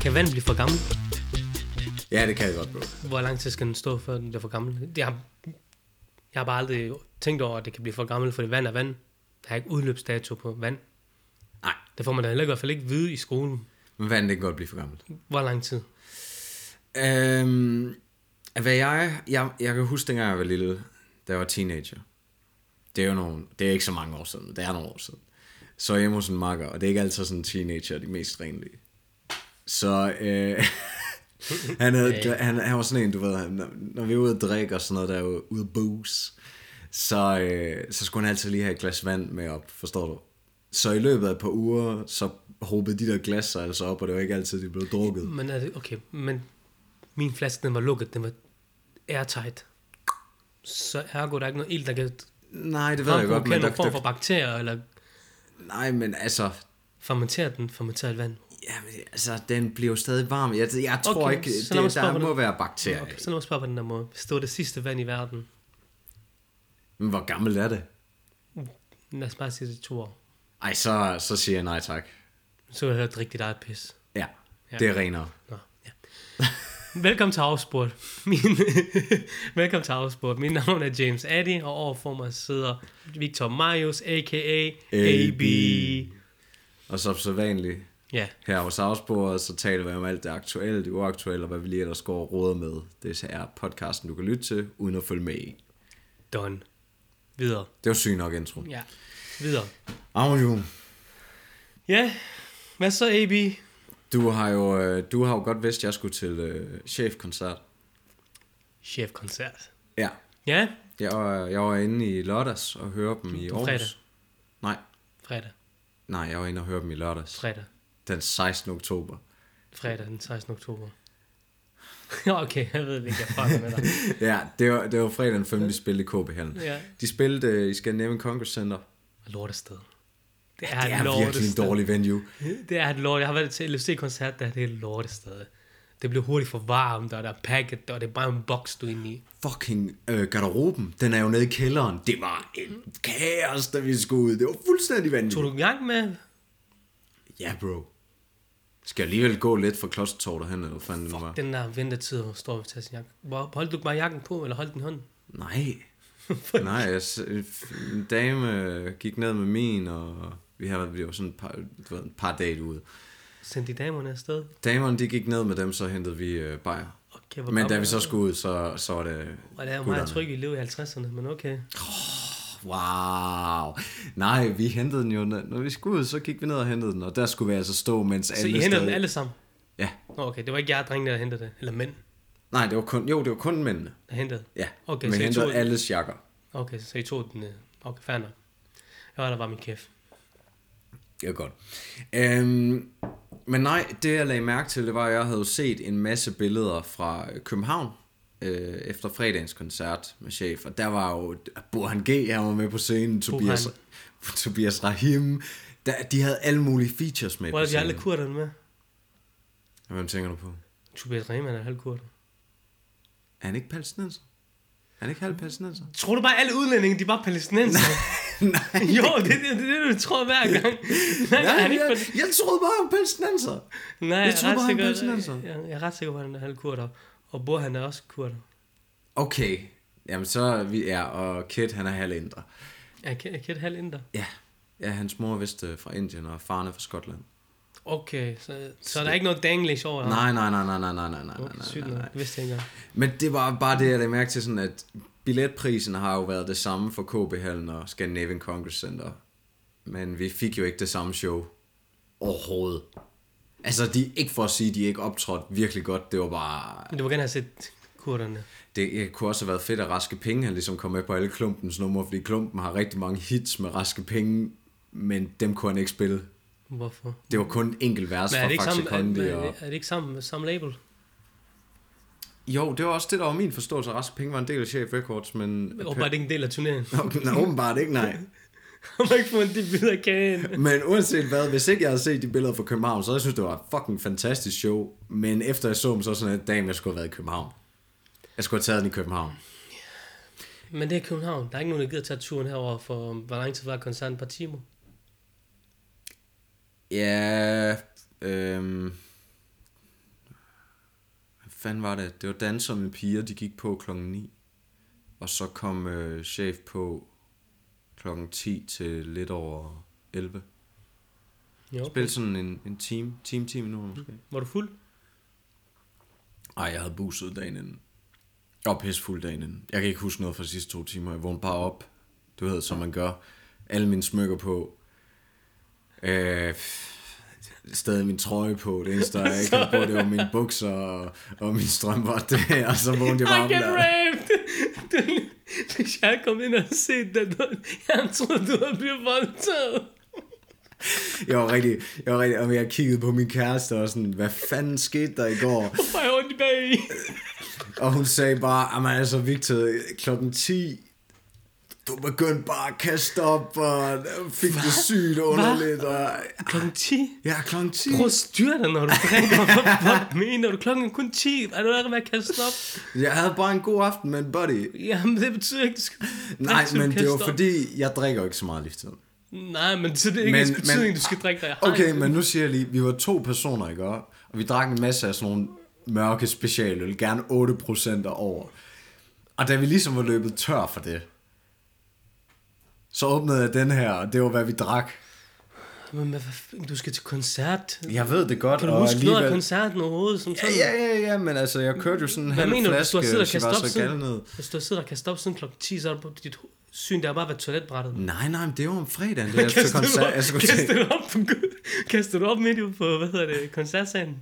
Kan vandet blive for gammel? Ja, det kan jeg godt, bro. Hvor lang tid skal den stå, før den bliver for gammel? Det har, jeg har bare aldrig tænkt over, at det kan blive for gammel, fordi vand er vand. Der er ikke udløbsdato på vand. Nej. Det får man da heller ikke- i hvert fald ikke vide i skolen. Men vandet det kan godt blive for gammelt. Hvor lang tid? Øhm, hvad jeg, jeg, jeg kan huske, dengang jeg var lille, da jeg var teenager. Det er jo nogle, det er ikke så mange år siden, men det er nogle år siden. Så er jeg hjemme hos en makker, og det er ikke altid sådan teenager, de mest renlige. Så øh, han, havde, han, han, var sådan en, du ved, han- når, når vi er ude at drikke og sådan noget, der er jo ude at booze, så, øh, så skulle han altid lige have et glas vand med op, forstår du? Så i løbet af et par uger, så hobede de der glas sig altså op, og det var ikke altid, de blev drukket. Men er det, okay, men min flaske, den var lukket, den var airtight. Så ergo, der er ikke noget ild, der kan Nej, det ved jeg godt, fremprovokere men nogen der, form der, for bakterier, eller Nej, men altså, fermentere den, fermenteret vand. jamen, altså, den bliver jo stadig varm. Jeg, jeg tror Okay, okay, ikke, så lad det, mig spørge, der hvordan- må være bakterier. Okay, Okay. så lad mig spørge på den der måde. Hvis det var det sidste vand i verden, Men hvor gammel er det? lad os bare sige det er to år, Ej, så, så siger jeg nej tak. så vil jeg høre rigtig eget pis. Ja, Ja. ja. det er renere. Nå, ja. Velkommen til Afspurt. Min, velkommen til Afspurt. Mit navn er James Addy, og overfor mig sidder Victor Marius, a.k.a. AB. Og så som vanligt, Ja, her hos Afsporet, så taler vi om alt det aktuelle, det uaktuelle, og hvad vi lige ellers går og råder med. Det er podcasten, du kan lytte til, uden at følge med i. done. Videre. Det var syg nok intro. Ja, videre. Agnjum, Ja, hvad så AB? du har jo, øh, du har jo godt vidst, at jeg skulle til øh, chefkoncert. Chefkoncert. Ja, Ja, Jeg var, jeg var inde i lørdags og hørte dem i På Aarhus. fredag. Nej, fredag, nej, jeg var inde og hørte dem i lørdags. fredag, Den 16. oktober. fredag den 16. oktober. okay, jeg ved det ikke, jeg fucker med dig. ja, det var, det var fredag den 5. de spillede i KB Hallen. Ja. De spillede øh, i Scandinavian Congress Center. Lortested. Det Ja, et det er virkelig en lortested. dårlig venue. Det er et lort. Jeg har været til LFC-koncert, der er det et lortested. Det bliver hurtigt for varmt, og der er pakket, og det er bare en boks, du er inde i. Fucking øh, garderoben, den er jo nede i kælderen. Det var en kaos, da vi skulle ud. Det var fuldstændig Tog vanvittigt. du i gang med? Ja, bro. Skal jeg alligevel gå lidt fra klostertorvet hen, eller hvad fanden det nu var? Den der ventetid, hvor står vi til sin jakke. Hvor, holdt du bare jakken på, eller holdt den i hånden? Nej. Nej, jeg, s- en dame øh, gik ned med min, og vi har vi var sådan et par, du ved, et par dage ude. Sendte de damerne afsted? Damerne, de gik ned med dem, så hentede vi øh, bajer. Okay, Men gammel da vi er så du? skulle ud, så, så var det... Og det er jo meget gutterne. tryg i livet i 50'erne, men okay. Wow. Nej, vi hentede den jo. Når når vi skulle ud, så gik vi ned og hentede den, og der skulle vi altså stå, mens Så alle I henter den stadig- alle sammen? Ja. Nå, okay, det var ikke jer drengene, der hentede det. Eller mænd, Nej, det var kun, jo, det var kun mændene. der hentede det. Ja, Okay, men så I hentede tog- alles jakker. Okay, så I tog den. øh, Okay, fair nok. Jeg var der bare min kæft. Det er godt. Øhm, men nej, det jeg lagde mærke til, det var, at jeg havde set en masse billeder fra øh, København øh, efter fredagens koncert med chef, og der var jo Burhan G, han var med på scenen, Tobias, Tobias Rahim, der, de havde alle mulige features med Hvor på er de alle scenen. kurderne med? Hvem tænker du på? Er Tobias Rehman er halvkurder. han ikke palæstinenser? Er han ikke halv palæstinenser? Tror du bare, alle udlændinge, de er bare palæstinenser? nej, jo, det er det, det, er det, du tror hver gang. Nej, nej nej, han er ikke jeg, palæ- jeg troede bare, han var palæstinenser. nej jeg, jeg troede bare, han er var ret sikker, palæstinenser. jeg, jeg, er ret sikker på, at han er halvkurder. Og Bor, han er også kurder. Okay, jamen så er vi er, og Kit, han er halv indre. Er Kjeld- er Kjeld halv inder? Ja, ja hans mor er vist øh, fra Indien, og faren er fra Skotland. Okay, så, så der er ikke noget danglish over ham? Nej, nej, nej, nej, nej, nej, nej, nej, Okay, Ah. sygt nej, nej, nok. nej. Det vidste jeg ikke engang. Men det var bare det, jeg lagde mærke til, sådan at billetprisen har jo været det samme for KB Hallen og Scandinavian Congress Center. Men vi fik jo ikke det samme show overhovedet. Altså, de ikke for at sige, de ikke optrådte virkelig godt. Det var bare... Men du må gerne have set kurderne. Det øh, kunne også have været fedt, at Raske Penge han ligesom kom med på alle klumpens numre, fordi klumpen har rigtig mange hits med Raske Penge, men dem kunne han ikke spille. Hvorfor? Det var kun en enkelt vers Men er det fra ikke Faxe samme, er, Kondi. Og... er, er det ikke samme, samme label? Jo, det var også det, der var min forståelse. Raske Penge var en del af Chef Records, men... Og bare det er ikke en del af turneringen. Nå, åbenbart ikke, nej. Han må ikke få en dip videre kagen. Men uanset hvad, hvis ikke jeg havde set de billeder fra København, så havde jeg synes det var et fucking fantastisk show. Men efter jeg så dem, så var sådan en dag, jeg skulle have været i København. Jeg skulle have taget den i København. Men det er København. Der er ikke nogen, der gider tage turen herover for, hvor lang tid var koncerten? Et par timer? Ja, øhm, fanden var det? Det var danser med piger, de gik på klokken 9. Og så kom øh, chef på klokken 10 til lidt over 11. Jo. Spil sådan en, en time, time, 10 minutter måske. Var du fuld? Ej, jeg havde buset dagen inden. Og pissefuld dagen inden. Jeg kan ikke huske noget fra de sidste to timer. Jeg vågnede bare op. Du ved, som man gør. Alle mine smykker på. Øh, stadig min trøje på. Det eneste, jeg ikke havde på, det var mine bukser og, og min strømper. Det, og så vågnede jeg bare I op get der. raped! Du, hvis jeg kom ind og set dig, du, jeg troede, du havde blevet voldtaget. Jeg var rigtig, jeg var rigtig, og jeg kiggede på min kæreste og sådan, hvad fanden skete der i går? Hvorfor er jeg ondt i bag i? Og hun sagde bare, jamen altså Victor, klokken 10, du begyndte bare at kaste op, og fik det sygt underligt. Og, Klokken 10? ja, klokken 10. Prøv at styre dig, når du drikker. Hvad fuck mener du? Klokken er kun 10. Er du ikke ved at kaste op? Jeg havde bare en god aften med en buddy. Jamen, det betyder ikke, du skal... Nej, du men det kaster var op. fordi, jeg drikker ikke så meget lige for tiden. Nej, men så det er ikke Men- ens betydning, men- du skal drikke dig. Okay, men nu siger jeg lige, vi var to personer, ikke? Og vi drak en masse af sådan nogle mørke specialøl, gerne 8% og over. Og da vi ligesom var løbet tør for det, så åbnede jeg den her, og det var, hvad vi drak. Men hvad, f- du skal til koncert. Jeg ved det godt, Kan du huske noget af koncerten overhovedet? Som Ja, sådan? ja, ja, ja, men altså, jeg kørte jo sådan en Hvad halv mener du, hvis du flaske har siddet og kastet op Chivas Regal siden, ned. hvis du har siddet og kastet op siden klokken 10, så er du på dit ho- syn, der har bare været toiletbrættet. Nej, nej, men det var om fredagen, det jeg til Kaster du koncert. op, Jeg skulle kaster til... du op, på, gu- kaster du op midt ude på, hvad hedder det, koncertsalen?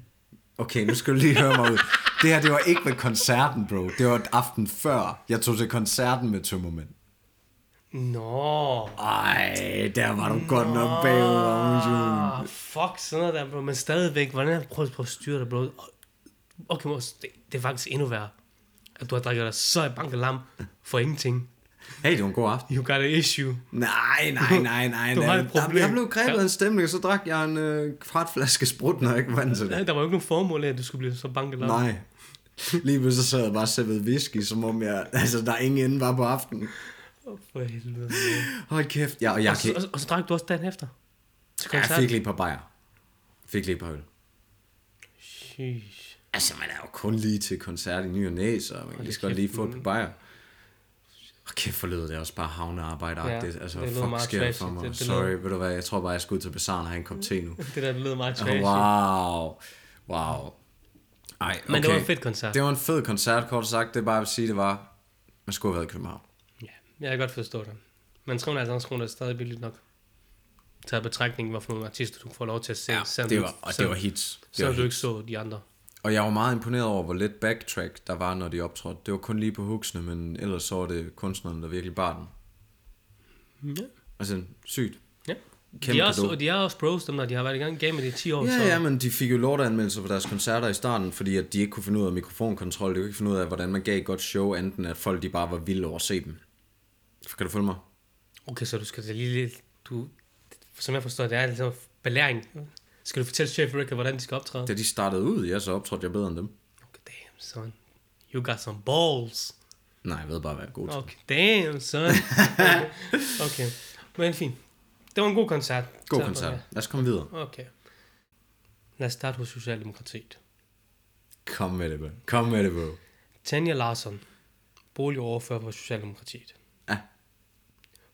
Okay, nu skal du lige høre mig ud. Det her, det var ikke ved koncerten, bro. Det var aften før, jeg tog til koncerten med Tømmermænd. Nå. Ej, der var du godt nok bagud om julen. Ah, fuck, sådan noget der, bro. Men stadigvæk, hvordan har du prøvet på at styre dig, bro? Okay, Mors, det, det er faktisk endnu værre, at du har drikket dig så i bank og lam for ingenting. Hey, det var en god aften. You got an issue. Nej, nej, nej, nej. Du har nej. et problem. Jeg, jeg blev grebet Ja. af en stemning, og så drak jeg en øh, kvart flaske sprut, når jeg ikke var vant til det. Nej, Der var jo ikke nogen formål af, at du skulle blive så bank og lam. Nej. Lige pludselig sad jeg bare og sippede whisky, som om jeg... Altså, der ingen ende var på aftenen. Åh, For helvede. man. Hold kæft. Ja, og jeg, Og så, kan... og, og så drak du også dagen efter? Til jeg koncerten? fik lige et par bajer. Fik lige et par øl. Sheesh. Altså, man er jo kun lige til koncert i ny og næ, så man kan lige så godt lige få et par bajer. Og kæft, for lød det også bare havnearbejde. Ja, Ja, det, altså, det det lød fuck meget sker der trashy, for mig. det- det Sorry, lød- ved du hvad, jeg tror bare, jeg skal ud til bazaren og have en kop te nu. Det der lyder meget trash. Oh, wow. Wow. Ej, okay. Men det var en fed koncert. Det var en fed koncert, kort sagt. Det er bare, jeg vil sige, det var, man skulle have været i København. Ja, jeg kan godt forstå det. Men 350 kroner er stadig billigt nok. Taget i betragtning, hvorfor nogle artister du får lov til at se. selvom det du- var, og det selvom- var hits. Det var Selvom du hits. ikke så de andre. Og jeg var meget imponeret over, hvor lidt backtrack der var, når de optrådte. Det var kun lige på hooksene, men ellers så var det kunstneren, der virkelig bar den. Ja. Altså, sygt. ja. Kæmpe de, er også, cadeau. og de er også pros, dem der. De har været i gang i gamet i 10 år. så. Ja, ja, men de fik jo lorteanmeldelser på deres koncerter i starten, fordi at de ikke kunne finde ud af mikrofonkontrol. De kunne ikke finde ud af, hvordan man gav et godt show, enten at folk de bare var vilde over at se dem. Kan du følge mig? Okay, så du skal da lige lidt... Du, som jeg forstår, det er ligesom belæring. Skal du fortælle Chef Ricker, hvordan de skal optræde? Da de startede ud, ja, så optrådte jeg bedre end dem. Okay, damn, son. You got some balls. Nej, jeg ved bare, hvad jeg er god til. Okay, damn, son. okay, men fint. Det var en god koncert. God Tak for koncert. det. Lad os komme videre. Okay. Lad os starte hos Socialdemokratiet. Kom med det, bro. Kom med det, bro. Tanja Larsson, boligoverfører for Socialdemokratiet. Ja.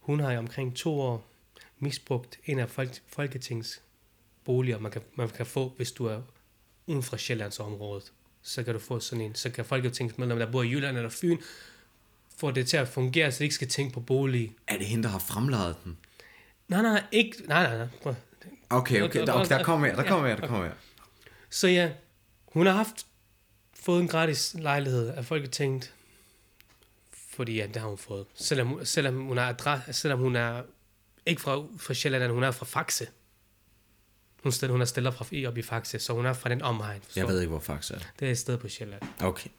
Hun har i omkring to år misbrugt en af folk, Folketingets boliger, man kan, man kan få, hvis du er uden for Sjællandsområdet. Så kan du få sådan en, så kan Folketingsmedlemmer, der bor i Jylland eller Fyn, få det til at fungere, så de ikke skal tænke på bolig. Er det hende, der har fremlejet den? Nej, nej, ikke, nej, nej, nej. Prøv. Okay, okay, der, okay, der kommer jeg, der kommer jeg, der kommer jeg. Så ja, hun har haft fået en gratis lejlighed af Folketinget, fordi ja, det har hun fået. Selvom, hun- selvom hun er adresse, selvom hun er ikke fra, fra Sjælland, hun er fra Faxe. Hun, sted, hun er stiller fra i op i Faxe, så hun er fra den omegn. forstår Jeg du? ved ikke, hvor faktisk er det. Det er et sted på Sjælland. Okay.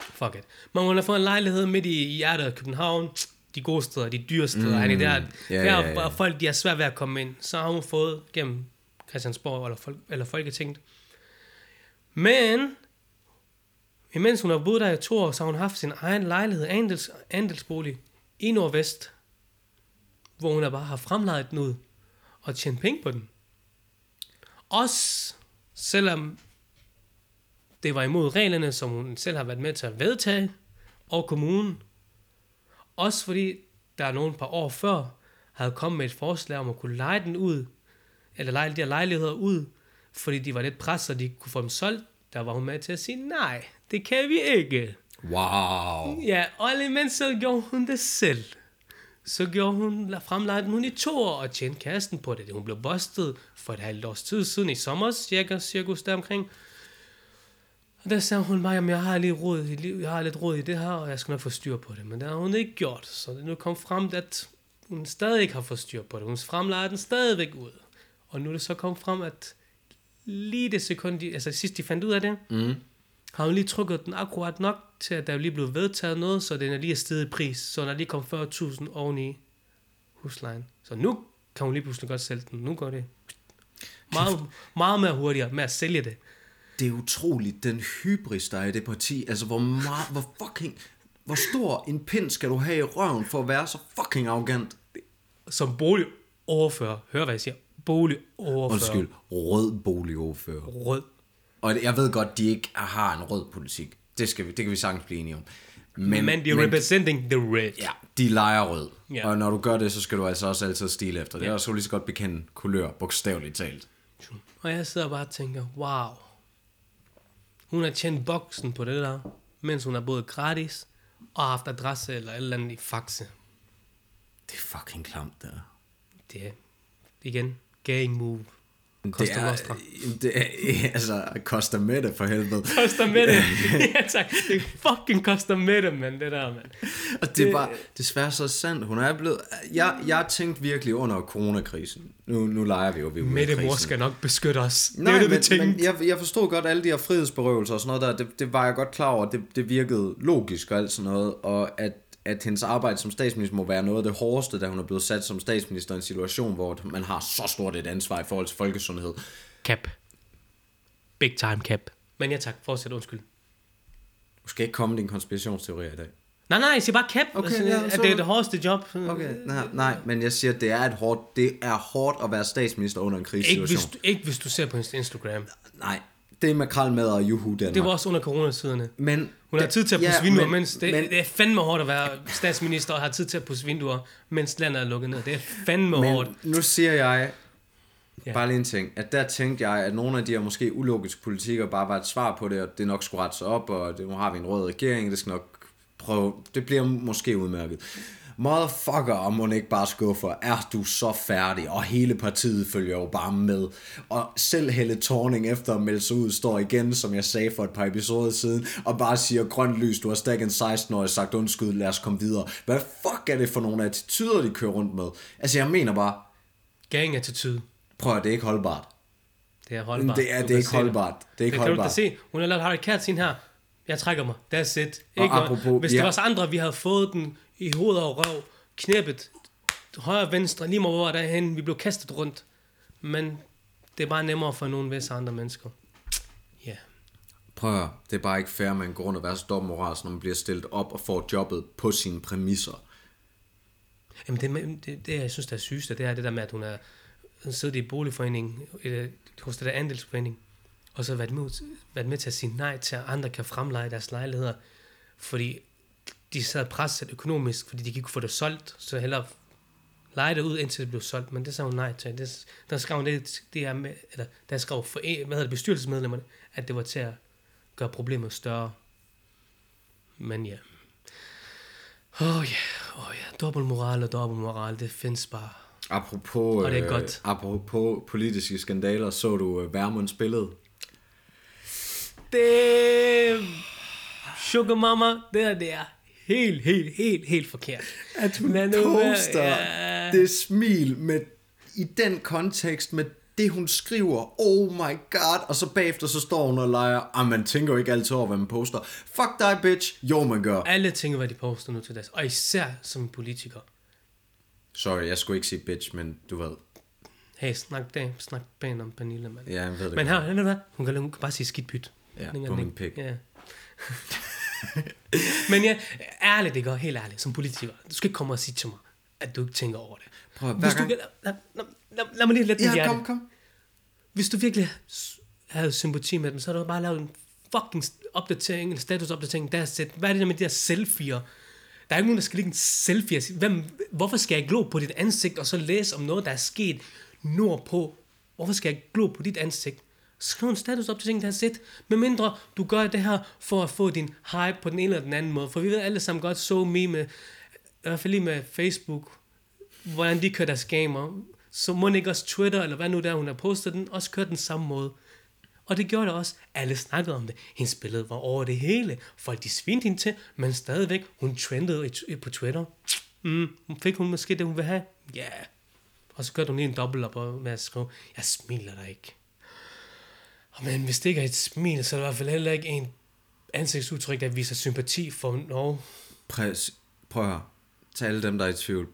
Fuck it. Men hun har fået en lejlighed midt i i hjertet af København. De gode steder, de dyre steder. Mm. Der, der, ja, der ja, ja. er folk, de har svært ved at komme ind. Så har hun fået gennem Christiansborg eller, folk, eller Folketinget. Men, imens hun har boet der i to år, så har hun haft sin egen lejlighed, andels, andelsbolig, i Nordvest, hvor hun har bare har fremlejet den ud og tjent penge på den. Også selvom Det var imod reglerne, som hun selv har været med til at vedtage, og kommunen. Også fordi der nogle par år før havde kommet med et forslag om at kunne lege den ud, eller lege de her lejligheder ud, fordi de var lidt presset, og de ikke kunne få dem solgt. Der var hun med til at sige, nej, det kan vi ikke. Wow. Ja, og imens så gjorde hun det selv. Så gjorde hun, fremlejede hun i to år og tjente kassen på det. Hun blev bustet for et halvt års tid siden i sommer, cirka, cirkus der omkring. Og der sagde hun mig, at jeg har, lige råd, i liv- jeg har lidt råd i det her, og jeg skal nok få styr på det. Men det har hun ikke gjort, så det nu kom frem, at hun stadig ikke har fået styr på det. Hun fremlejer den stadigvæk ud. Og nu er det så kommet frem, at lige det sekund, de, altså sidst de fandt ud af det, mm. har hun lige trykket den akkurat nok til, at der er lige blevet vedtaget noget, så den er lige steget i pris. Så der er lige kommet 40.000 oveni huslejen. Så nu kan hun lige pludselig godt sælge den. Nu går det meget, meget mere hurtigere med at sælge det. Det er utroligt, den hybris, der er i det parti. Altså, hvor, meget, hvor fucking... Hvor stor en pind skal du have i røven for at være så fucking arrogant? Som boligoverfører, hør hvad jeg siger, boligoverfører, Undskyld, rød boligordfører. rød. Og jeg ved godt, de ikke har en rød politik. Det, skal vi, det kan vi sagtens blive enige om. Men, men de er representing the red. Ja, de leger rød. Ja. Ja. Og når du gør det, så skal du altså også altid stile efter det. Ja. Og så kan du lige så godt bekende kulør, bogstaveligt talt. Og jeg sidder bare og tænker, wow. Hun har tjent boksen på det der, mens hun har boet gratis og har haft adresse eller et eller andet i faxe. Det er fucking klamt, der. Det Det er igen, gang move. Koster er, Nostra. det er, altså, koster med det for helvede. Koster med det. ja, tak. Det fucking koster med det, mand, det der, mand. Og det er bare, desværre så sandt. Hun er blevet, jeg, jeg tænkte virkelig under coronakrisen. Nu, nu leger vi jo, vi er ude af Mette krisen. mor skal nok beskytte os. Nej, det Nej, er jo det, vi men, tænkte. men jeg, jeg forstod godt alle de her frihedsberøvelser og sådan noget der, det, det var jeg godt klar over, det, det virkede logisk og alt sådan noget, og at, at hendes arbejde som statsminister må være noget af det hårdeste, da hun er blevet sat som statsminister i en situation, hvor man har så stort et ansvar i forhold til folkesundhed. Cap. Big time cap. Men ja tak, fortsæt, undskyld. Du skal ikke komme din konspirationsteori i dag. Nej, nej, jeg siger bare cap. Okay, altså, ja, at så- det er det hårdeste job. Okay, nej, nej, men jeg siger, det er, et hårdt, det er hårdt at være statsminister under en Ikke krisesituation. hvis, du, ikke hvis du ser på hendes Instagram. Nej, det er makralmad og juhu Danmark. Det var også under coronasiderne. men, Hun har tid til at pusse ja, ja, vinduer, men- mens det, men- det er fandme hårdt at være statsminister og har tid til at pusse vinduer, mens landet er lukket ned. Det er fandme men, hårdt. Men nu siger jeg Ja. ja. bare lige en ting, at der tænkte jeg, at nogle af de her måske ulogiske politikker bare var et svar på det, og det nok skulle rette sig op, og det, nu har vi en rød regering, det skal nok prøve, det bliver måske udmærket. Motherfucker, om hun ikke bare skuffer, er du så færdig, og hele partiet følger jo bare med. Og selv Helle Torning efter at melde sig ud, står igen, som jeg sagde for et par episoder siden, og bare siger, grønt lys, du har stadig en 16-årig sagt undskyld, lad os komme videre. Hvad fuck er det for nogle attityder, de kører rundt med? Altså jeg mener bare, Gang attitude. Prøv at det er ikke holdbart. Det er holdbart. Det er- Du det er kan ikke se det. holdbart. Det er ikke kan holdbart. du da se. Hun har lavet Harry Kært sin her. Jeg trækker mig. That's it. Og Ikke noget. apropos- Hvis det ja. var os andre, vi havde fået den i hovedet og røv, knæppet, højre og venstre, lige meget hvor der er henne. Vi blev kastet rundt. Men det er bare nemmere for nogle visse andre mennesker. Ja. Yeah. Prøv at høre, det er bare ikke fair, at man går rundt og være så dobbeltmoralsk, når man bliver stillet op og får jobbet på sine præmisser. Jamen det, men det, det, jeg synes, der er sygeste, det er det der med, at hun er hun sidder i boligforeningen, eller hos det der andelsforening, og så har været med, været med til at sige nej til, at andre kan fremleje deres lejligheder, fordi de sad presset økonomisk, fordi de ikke kunne få det solgt, så hellere lege det ud, indtil det blev solgt, men det sagde hun nej til. Det, der skrev hun det, det er med, eller der skrev for, hvad hedder det, bestyrelsesmedlemmerne, at det var til at gøre problemet større. Men ja. Åh oh, ja, åh oh, ja, dobbeltmoral og dobbeltmoral, det findes bare. Apropos, Og det er godt. Øh, apropos politiske skandaler, så du øh, Værmunds billede. Det Sugar Mama, det her, det er helt, helt, helt, helt forkert. At hun Lad nu være, poster ja. det smil med, i den kontekst med det, hun skriver. Oh my god. Og så bagefter, så står hun og leger. Ah, man tænker jo ikke altid over, hvad man poster. Fuck dig, bitch. Jo, man gør. Alle tænker, hvad de poster nu til dags, og især som politiker. Sorry, jeg skulle ikke sige bitch, men du ved. Hey, snak dag, snak pænt om Pernille, mand. Ja, jeg ved det Men godt. her, ved du hvad? Hun kan, hun kan bare sige skidt pyt. Ja, Den kan den på min ikke. pik. Ja. Men ja, ærligt, det går helt ærligt, som politiker. Du skal ikke komme og sige til mig, at du ikke tænker over det. Prøv at- Hvis hver du, lad, lad, lad, lad, lad, mig lige lette mit hjerte. kom. Hvis du virkelig s- havde sympati med dem, så havde du bare lavet en fucking opdatering, eller statusopdatering, der er set, hvad er det der med de der selfies? Der er ikke nogen, der skal ligge en selfie. og sige, Hvem, hvorfor skal jeg glo på dit ansigt, og så læse om noget, der er sket nordpå? Hvorfor skal jeg glo på dit ansigt? Skriv en status op til ting, der er set. Med mindre du gør det her for at få din hype på den ene eller den anden måde. For vi ved alle sammen godt, så me med, i hvert fald lige med Facebook, hvordan de kører deres gamer. Så må ikke også Twitter, eller hvad nu der, hun har postet den, også køre den samme måde. Og det gjorde det også. Alle snakkede om det. Hendes billede var over det hele. Folk de svinte hende til, men stadigvæk, hun trendede i- i- på Twitter. Mm, fik hun måske det, hun ville have? Ja. Yeah. Og så kørte hun lige en dobbelt op og- med at skrive, jeg smiler dig ikke. Og men hvis det ikke er et smil, så er det i hvert fald heller ikke en ansigtsudtryk, der viser sympati for Norge. Præcis. Prøv at høre. Til alle dem, der er i tvivl.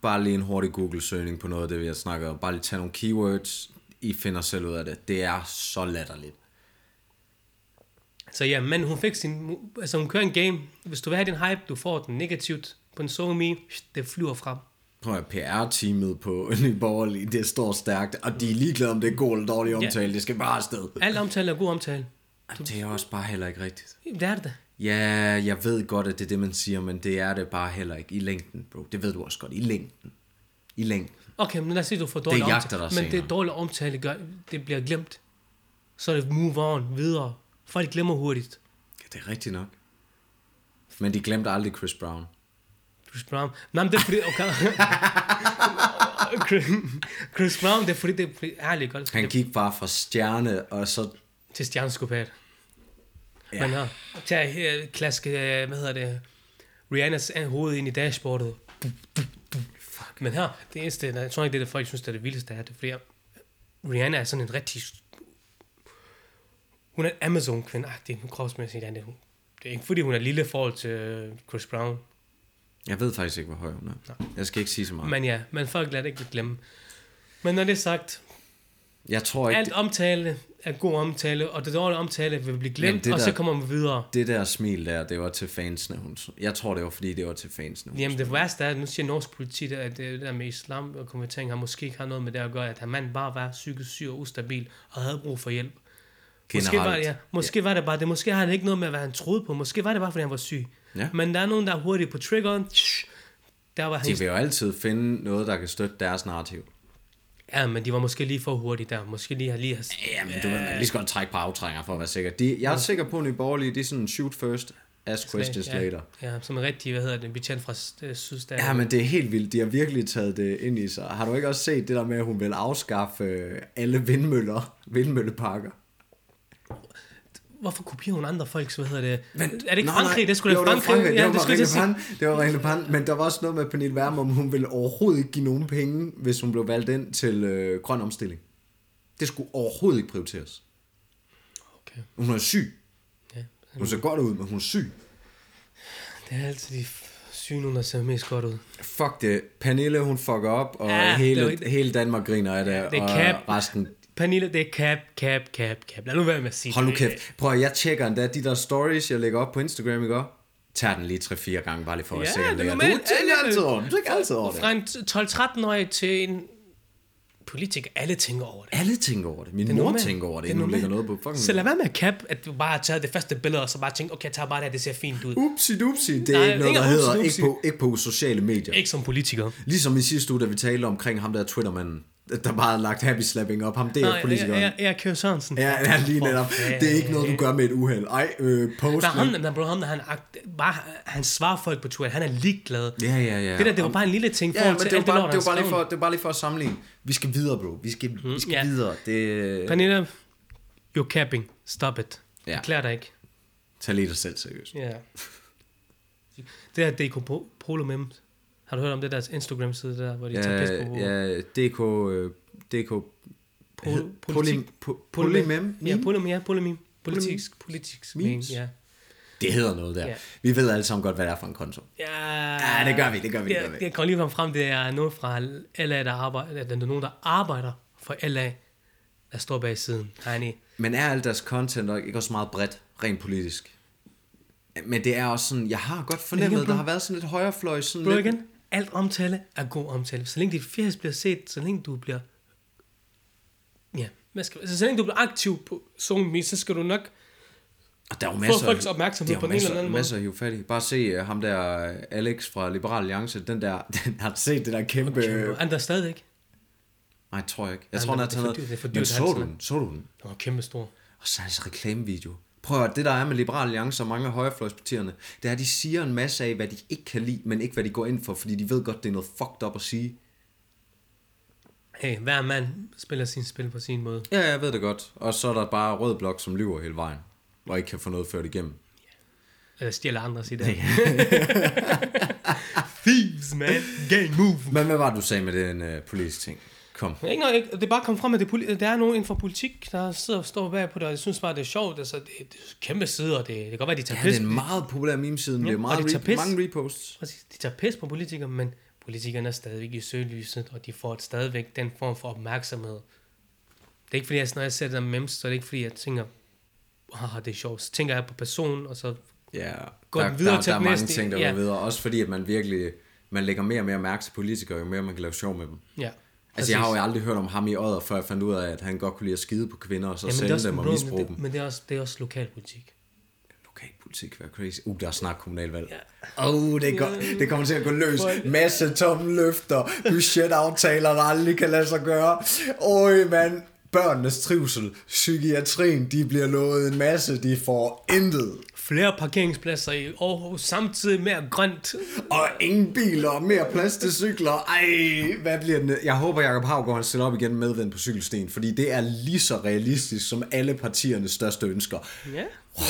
Bare lige en hurtig Google-søgning på noget af det, vi har snakket om. Bare lige tage nogle keywords. I finder selv ud af det. Det er så latterligt. Så ja, men hun fik sin... Altså hun kører en game. Hvis du vil have din hype, du får den negativt på en SoMe. Det flyver frem. Prøv at høre, PR-teamet på Nye Borgerlige, det står stærkt, og de er ligeglade, om det er god eller dårlig omtale. Det skal bare afsted. Alt omtale er god omtale. Det er også bare heller ikke rigtigt. Det er det da. Ja, jeg ved godt, at det er det, man siger, men det er det bare heller ikke i længden, bro. Det ved du også godt. I længden. I længden. Okay, men lad os sige, du får dårlig jagter omtale. dig Men senere. det dårlige omtale gør, det bliver glemt. Så er det move on, videre. Folk glemmer hurtigt. Ja, det er rigtigt nok. Men de glemte aldrig Chris Brown. Chris Brown. Nej, men det er fordi, okay. Chris- Chris Brown, det er fordi, det er fordi- ærligt godt. Han gik bare fra stjerne, og så... til stjerneskopat. Ja. Ja. Man har tag her, klaske, øh, hvad hedder det, Rihannas an- hoved ind i dashboardet. Fuck. Men her, det eneste, jeg tror ikke, det er det, folk synes, det er det vildeste her, det er fordi, øh, Rihanna er sådan en rigtig, hun er en Amazon-kvinde, agtig, hun kropsmæssigt, ja, det er hun. Det er ikke fordi, hun er lille i forhold til øh, Chris Brown. Jeg ved faktisk ikke, hvor høj hun er. Jeg skal ikke sige så meget. Men... Men ja, men folk lader det ikke glemme. Men når det er sagt, Jeg tror ikke, alt omtale er god omtale, og det dårlige omtale vil blive glemt, det og så der- kommer man videre. det der smil der, det var til fansene. Hun... Jeg tror, det var, fordi det var til fansene. Hun... Jamen det værste er, at nu siger norsk politi, det, at det der med islam og konvertering har måske ikke har noget med det at gøre, at han mand bare var psykisk syg og ustabil og havde brug for hjælp. Måske, var, det- ja, måske ja. var det bare det. Måske har det ikke noget med, hvad han troede på. Måske var det bare, fordi han var syg. Ja. Men der er nogen, der er hurtigt på triggeren. Der var han. De vil jo altid finde noget, der kan støtte deres narrativ. Ja, men de var måske lige for hurtige der. Måske lige har lige... Har... Jamen, du ved, man kan lige så godt trække på aftrænger for at være sikker. De, jeg er sikker på, at Nye Borgerlige, de er sådan shoot first, ask questions ja, later. Ja, som en rigtig, hvad hedder det, betjent fra øh, Sydstaten. Ja, men det er helt vildt. De har virkelig taget det ind i sig. Har du ikke også set det der med, at hun vil afskaffe øh, alle vindmøller, vindmølleparker? Hvorfor kopierer hun andre folks, hvad hedder det? Men, er det ikke Frankrig? Det skulle jo, da det var Frankrig. Frankrig. Ja, det, var skulle jeg til at sige. Marine Le Pen. det var Marine Le Pen. Men der var også noget med Pernille Wermund, om hun ville overhovedet ikke give nogen penge, hvis hun blev valgt ind til øh, grøn omstilling. Det skulle overhovedet ikke prioriteres. Okay. Hun er syg. Ja. Hun ser godt ud, men hun er syg. Det er altid de f- syge nogen, der ser mest godt ud. Fuck det. Pernille, hun fucker op, og Ja, ja, det hele, var- hele Danmark griner af det, det er og cap. resten... Pernille, det er cap, cap, cap, cap. Lad nu være med at sige Hold nu det. kæft. Prøv at jeg tjekker endda de der stories, jeg lægger op på Instagram i går. Tag den lige 3-4 gange, bare lige for at Ja, se, det er om det er. Du normalt. tænker Alle- altid over det. Du tænker altid over det. Fra en t- 12-13-årig til en politiker, alle tænker over det. Alle tænker over det. Min er mor normalt. tænker over Det det, er inden hun lægger normalt. noget på fucking... Så lad være med at cap, at du bare har taget det første billede, og så bare tænkt, okay, jeg tager bare det her, det ser fint ud. Upsi dupsi, det er Nej, ikke noget, ikke der hedder upsi ikke på, ikke på sociale medier. Ikke som politiker. Ligesom i sidste uge, da vi talte omkring ham der Twittermanden, der bare har lagt happy slapping op. Ham der Nej, jeg, politikeren. jeg, jeg, Kjør E- Sørensen. Ja, ja, lige For netop. fanden. Det er ikke noget, du gør med et uheld. Ej, øh, post. Der er ham, der, bro, ham, der han, akt, bare, han svarer folk på Twitter, han er ligeglad. Ja, ja, ja. Det der, det var bare en lille ting i Ja, forhold men til det var, alt det bare, lort, det, var han bare lige skrev. for, det var bare lige for at sammenligne. Vi skal videre, bro. Vi skal, vi skal ja. videre. Det... Pernille, you're capping. Stop it. Øh. Ja. Ja. Klær dig ikke. Tag lige dig selv seriøst. Ja. Det her DK Po- Polo Memes. Har du hørt om det deres Instagram-side der, hvor de tager pis på ja, ja, DK... øh, DK... Pol- Polymem? politik- Polymem? Ja, Polo Meme, ja, Polo Meme. Politisk, politisk meme, Memes? ja. Det hedder noget der. Ja. Vi ved alle sammen godt, hvad det er for en konto. Ja, Ja, det gør vi, det gør vi, det gør vi. Det, det kommer lige frem frem, det er nogen fra LA, der arbejder, eller der er nogen, der arbejder for LA, der står bag siden. Tiny. Men er alt deres content nok ikke også meget bredt, rent politisk? Men det er også sådan, jeg har godt fornemmet, igen, at bro. der har været sådan lidt højrefløj, sådan Bro lidt... igen, alt omtale er god omtale. Så længe dit fjæs bliver set, så længe du bliver... Ja, hvad skal, så, så længe du bliver aktiv på SoMe, så skal du nok Og der er jo masser, folks opmærksomhed der er på jo den ene masser, eller anden måde. masser at hive fat i. Bare se uh, ham der, uh, Alex fra Liberal Alliance, den der, den, har du set det der kæmpe... Øh. Han der er stadig ikke. Nej, tror jeg ikke. Jeg Ej, tror, men han har det er taget for dyrt, det er for noget. dyrt, Men så du halsen. den? Så du den? Han var kæmpe stor. Og så hans reklamevideo. Prøv at høre, det der er med Liberal Alliance og mange af højrefløjspartierne, det er, at de siger en masse af, hvad de ikke kan lide, men ikke hvad de går ind for, fordi de ved godt, det er noget fucked up at sige. Hey, hver mand spiller sin spil på sin måde. Ja, jeg ved det godt. Og så er der bare rød blok, som lyver hele vejen, og ikke kan få noget ført igennem. Eller stjæler andre sit af. Thieves, man. Gang move. Men hvad var det, du sagde med den øh, politisk ting? Kom. Men Ikke noget, ikke, det er bare kommet frem, at det, poli- der er nogen inden for politik, der sidder og står bag på det, og jeg synes bare, det er sjovt. Altså, det, det er kæmpe sider, og det, det kan godt være, de tager Ja, pis. det er en meget populær meme-side, men Ja, det er og meget de tager re- pis. mange reposts. Præcis, de tager pis på politikere, men politikerne er stadigvæk i søgelyset, og de får stadigvæk den form for opmærksomhed. Det er ikke fordi, at når jeg ser det der memes, så er det ikke fordi, jeg tænker, haha, det er sjovt. Så tænker jeg på personen, og så Ja, Gå der, den videre der, til der er den mange næste, ting, der ja. går videre. Også fordi, at man virkelig man lægger mere og mere mærke til politikere, jo mere man kan lave sjov med dem. ja. Altså, jeg har jo aldrig hørt om ham i Odder, før jeg fandt ud af, at han godt kunne lide at skide på kvinder, og så Jamen, det er sælge også dem og problem, misbruge men dem. det, men det er også, det er også lokalpolitik. Lokalpolitik, hvad crazy. Uh, der er snart kommunalvalg. Ja. Åh, oh, det, går, det kommer til at gå løs. Masse tomme løfter, budgetaftaler, der aldrig kan lade sig gøre. Øj, mand. Børnenes trivsel, psykiatrien, de bliver lovet en masse, de får intet. Flere parkeringspladser i Aarhus, samtidig mere grønt. Og ingen biler, og mere plads til cykler. Ej, hvad bliver den? Jeg håber, Jacob Havgaard han stiller op igen med den på cykelsten, fordi det er lige så realistisk som alle partiernes største ønsker. Ja, lad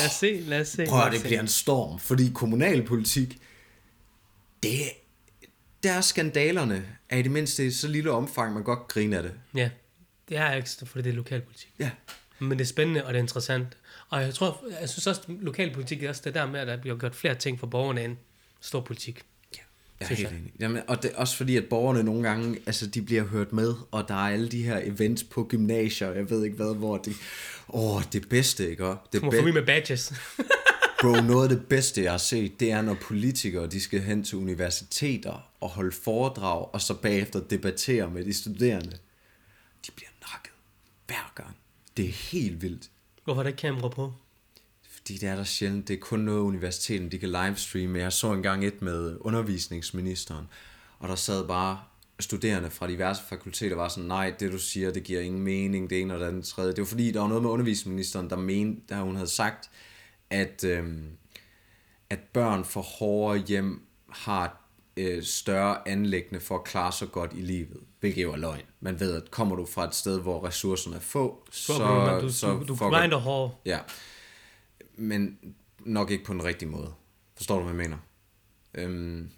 os se, lad os se. Prøv lad at os det se. bliver en storm, fordi kommunalpolitik, det der er skandalerne er i det mindste i så lille omfang, man godt griner af det. Ja, det er ekstra, fordi det er lokalpolitik. Ja. Men det er spændende, og det er interessant. Og jeg tror, jeg synes også, at lokalpolitik er også det der med, at der bliver gjort flere ting for borgerne end stor politik. Jeg er Synes helt enig. Jamen, og det er også fordi, at borgerne nogle gange, altså de bliver hørt med, og der er alle de her events på gymnasier, og jeg ved ikke hvad, hvor de... Åh, det bedste, ikke? Og Det Du må bed- forbi med badges. Bro, noget af det bedste, jeg har set, det er, når politikere de skal hen til universiteter og holde foredrag, og så bagefter debattere med de studerende. De bliver nakket hver gang. Det er helt vildt. Hvorfor er der ikke kamera på? Fordi det er der sjældent. Det er kun noget, universiteten de kan livestreame. Jeg så engang et med undervisningsministeren, og der sad bare studerende fra diverse fakulteter var sådan, nej, det du siger, det giver ingen mening, det ene og det andet tredje. Det var fordi, der var noget med undervisningsministeren, der mente, der hun havde sagt, at, øhm, at børn fra hårdere hjem har øh, større anlæggende for at klare sig godt i livet, hvilket jo er løgn. Man ved, at kommer du fra et sted, hvor ressourcerne er få, så, Så, du, så Ah. så, du, du fucker- grinder hårdt. Ja. Men nok ikke på den rigtige måde. Forstår du, hvad jeg mener? Øhm.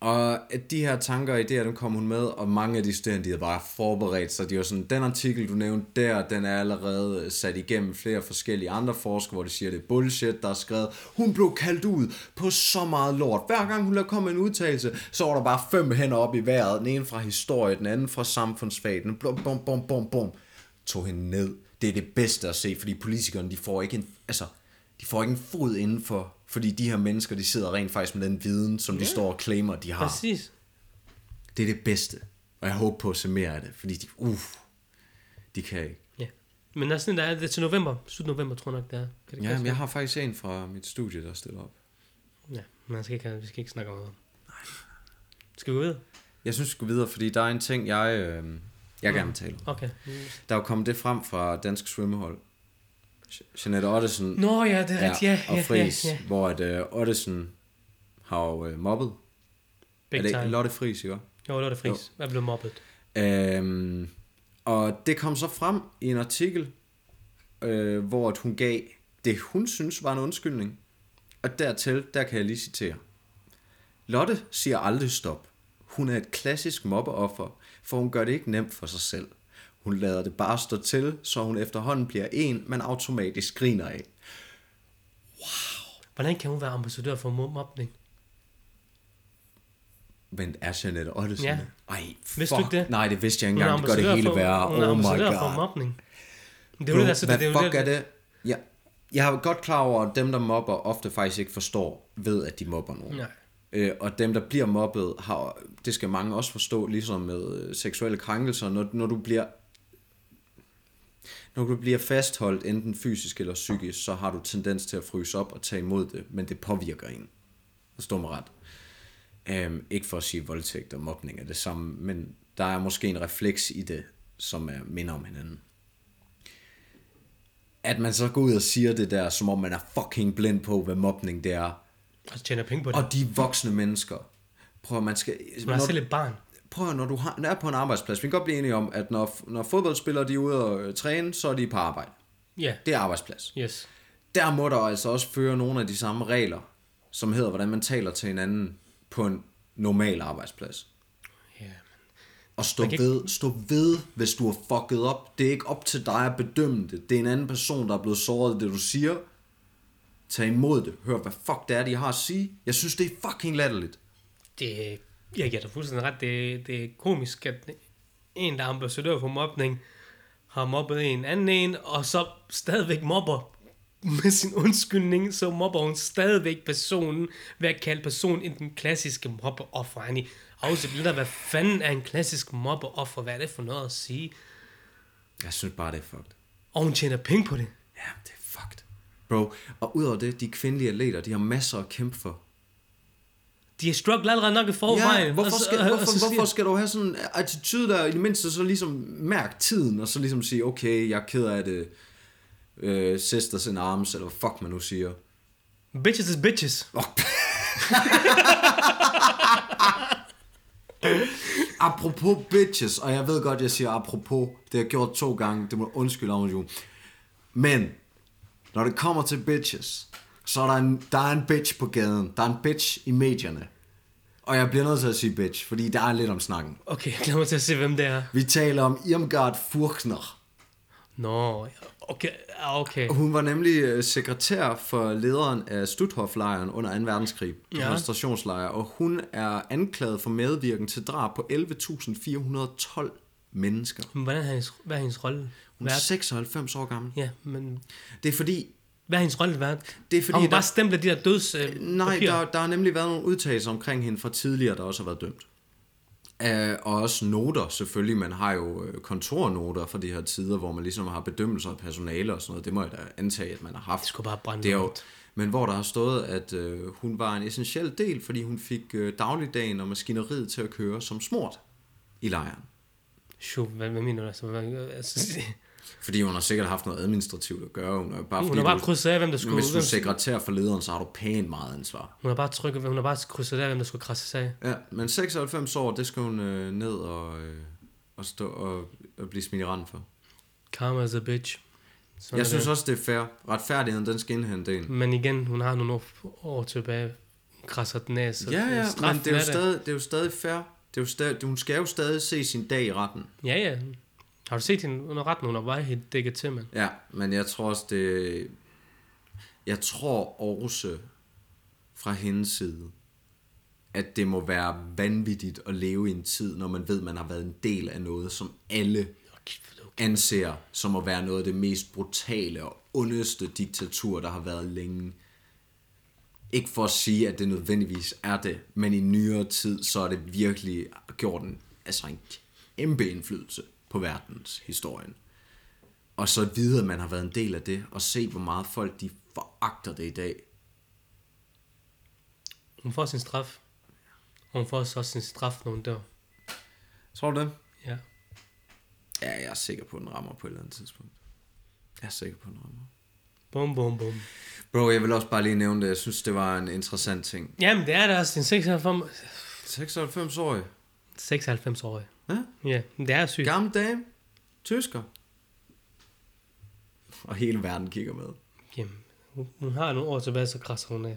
Og at de her tanker og idéer, dem kom hun med, og mange af de studerende, de havde bare forberedt sig. De var sådan, den artikel, du nævnte der, den er allerede øh, sat igennem flere forskellige andre forskere, hvor de siger, det er bullshit, der er skrevet. Hun blev kaldt ud på så meget lort. Hver gang hun lagde komme med en udtalelse, så var der bare fem hænder op i vejret. Den ene fra historie, den anden fra samfundsfag. Den blom, bom, bom, bom, bom tog hende ned. Det er det bedste at se, fordi politikerne, de får ikke en, altså, de får ikke en fod indenfor, fordi de her mennesker, de sidder rent faktisk med den viden, som de står og claimer, de har. Præcis. Det er det bedste. Og jeg håber på at se mere af det, fordi de, uff, de kan ikke. Ja. Men der er sådan, der er, det er til november. Slut november, tror jeg nok, det er. Kan det Ja, passe? men jeg har faktisk en fra mit studie, der stiller op. ja. Man skal ikke, vi skal ikke snakke om det. Skal vi gå videre? Jeg synes, vi skal videre, fordi der er en ting, jeg, øh, jeg gerne vil tale om. Okay. Der er jo kommet det frem fra Dansk Svømmehold. Je- Jeanette Ottesen Nå ja, det er ja, rigtigt. Ja, ja, og ja, Friis, ja. hvor at, øh, Ottesen har jo øh, mobbet Big er det time. ikke Lotte Friis, ikke? Jo, Lotte Friis. Jeg blev mobbet. Øhm, og det kom så frem i en artikel, øh, hvor at hun gav det, hun synes var en undskyldning. Og dertil, der kan jeg lige citere. Lotte siger aldrig stop. Hun er et klassisk mobbeoffer, for hun gør det ikke nemt for sig selv. Hun lader det bare stå til, så hun efterhånden bliver en, man automatisk griner af. Hvordan kan hun være ambassadør for mo- mobning? Men er Jeanette Ottesen? Ja. det? Ej, fuck. Vidste du ikke det? Nej, det vidste jeg ikke Hun er engang. Det gør det ambassadør hele for- værre. Hun er Oh my ambassadør for god. mobning. Det er jo det, der så hvad det, er jo fuck det, er det? Ja. Jeg er godt klar over, at dem, der mobber, ofte faktisk ikke forstår, ved, at de mobber nogen. Nej. Øh, og dem, der bliver mobbet, har, det skal mange også forstå, ligesom med øh, seksuelle krænkelser. Når, når du bliver Når du bliver fastholdt, enten fysisk eller psykisk, så har du tendens til at fryse op og tage imod det, men det påvirker en. Forstår mig ret. Øhm, ikke for at sige, at voldtægt og mobning er det samme, men der er måske en refleks i det, som er minder om hinanden. At man så går ud og siger det der, som om man er fucking blind på, hvad mobning det er. Og så Altså, tjener penge på det. Og de voksne mennesker. Prøv at man skal... Man er når- selv et barn. prøv at høre, når du har, når er på en arbejdsplads, vi kan godt blive enige om, at når, når fodboldspillere de er ude og øh, træne, så er de på arbejde. Ja, Det er arbejdsplads. yes. Der må der altså også føre nogle af de samme regler, som hedder, hvordan man taler til hinanden på en normal arbejdsplads. Ja, Og stå Man kan ved, stå ved, hvis du har fucket op. Det er ikke op til dig at bedømme det. Det er en anden person, der er blevet såret af det, du siger. Tag imod det. Hør, hvad fuck det er, de har at sige. Jeg synes, det er fucking latterligt. det, jeg giver dig fuldstændig ret. Det, det er komisk, at en, der er ambassadør for mobning, har mobbet en anden en, og så stadigvæk mobber med sin undskyldning, så mobber hun stadigvæk personen ved at kalde personen en den klassiske mobbeoffer. Han i afsæt lidt af, hvad fanden er en klassisk mobbeoffer? Hvad er det for noget at sige? Jeg synes bare, det er fucked. Og hun tjener penge på det. Ja, det er fucked. Bro, og udover det, de kvindelige atleter, de har masser at kæmpe for. De er strugglet allerede nok i forvejen. ja, og hvorfor så- skal, og så hvorfor, siger- hvorfor skal du have sådan en attitude, der i det mindste så ligesom mærk tiden, og så ligesom sige, okay, jeg er ked af det, øh, sisters in arms, eller hvad fuck man nu siger. Bitches is bitches. Apropos bitches, og jeg ved godt, jeg siger apropos, det har jeg gjort to gange, det må du undskylde, Agnes Jul. Men, når det kommer til bitches, så er der en, der er en bitch på gaden, der er en bitch i medierne. Og jeg bliver nødt til at sige bitch, fordi der er lidt om snakken. Okay, jeg glæder mig til at se, hvem det er. Vi taler om Irmgard Furkner. Nå, okay, ah, okay. Hun var nemlig øh, sekretær for lederen af Stutthof-lejren under 2. verdenskrig, koncentrationslejr, og hun er anklaget for medvirken til drab på 11.412 mennesker. Men hvordan er hendes, hvad er hendes rolle Hun er værd? 96 år gammel. Ja, men Det er fordi, hvad er hendes rolle værd? Det er fordi, Har hun der- bare stemplet de der døds... Øh, nej, papirer? der, der har nemlig været nogle udtalelser omkring hende fra tidligere, der også har været dømt. Uh, og også noter selvfølgelig, man har jo øh, kontornoter fra de her tider, hvor man ligesom har bedømmelser af personale og sådan noget, det må jeg da antage, at man har haft. Det skulle bare brænde Det er jo, rundt. men hvor der har stået, at øh, hun var en essentiel del, fordi hun fik øh, dagligdagen og maskineriet til at køre som smurt i lejren. Sjo, hvad, hvad mener du? Altså, hvad, altså, Fordi hun har sikkert haft noget administrativt at gøre. Hun er bare, hun fordi har bare du, krydset af, hvem der skulle... hvis du er hvem, sekretær for lederen, så har du pænt meget ansvar. hun har bare trykket, hun har bare krydset af, hvem der skulle krasse af. Ja, men 96 år, det skal hun øh, ned og, øh, og, stå og, og blive smidt i rand for. Karma is a bitch. Sådan Jeg er synes det. også, det er fair. Retfærdigheden, den skal indhente en. Men igen, hun har nogle år, år tilbage. Hun krasser den af, så øh, Ja, ja, men straffen det er, jo der. stadig, det er jo stadig fair. Det er jo stadig, hun skal jo stadig se sin dag i retten. Ja, ja. Har du set hende under retten? Hun er bare helt dækket til, mand. Ja, men jeg tror også, det... Jeg tror også fra hendes side, at det må være vanvittigt at leve i en tid, når man ved, man har været en del af noget, som alle anser som at være noget af det mest brutale og ondeste diktatur, der har været længe. Ikke for at sige, at det nødvendigvis er det, men i nyere tid, så er det virkelig gjort en, altså en kæmpe indflydelse på verdens historien. Og så at vide, at man har været en del af det, og se, hvor meget folk de foragter det i dag. Hun får sin straf. Og hun får også sin straf, når hun dør. Tror du det? Ja. Ja, jeg er sikker på, at den rammer på et eller andet tidspunkt. Jeg er sikker på, at den rammer. Bum, bum, bum. Bro, jeg vil også bare lige nævne det. Jeg synes, det var en interessant ting. Jamen, det er da også en 96 96-årig. 96-årig. Ja? Ja, det er sygt. Gammel dame. Tysker. Og hele verden kigger med. Jamen, hun- hun har nogle år tilbage, så krasser hun af.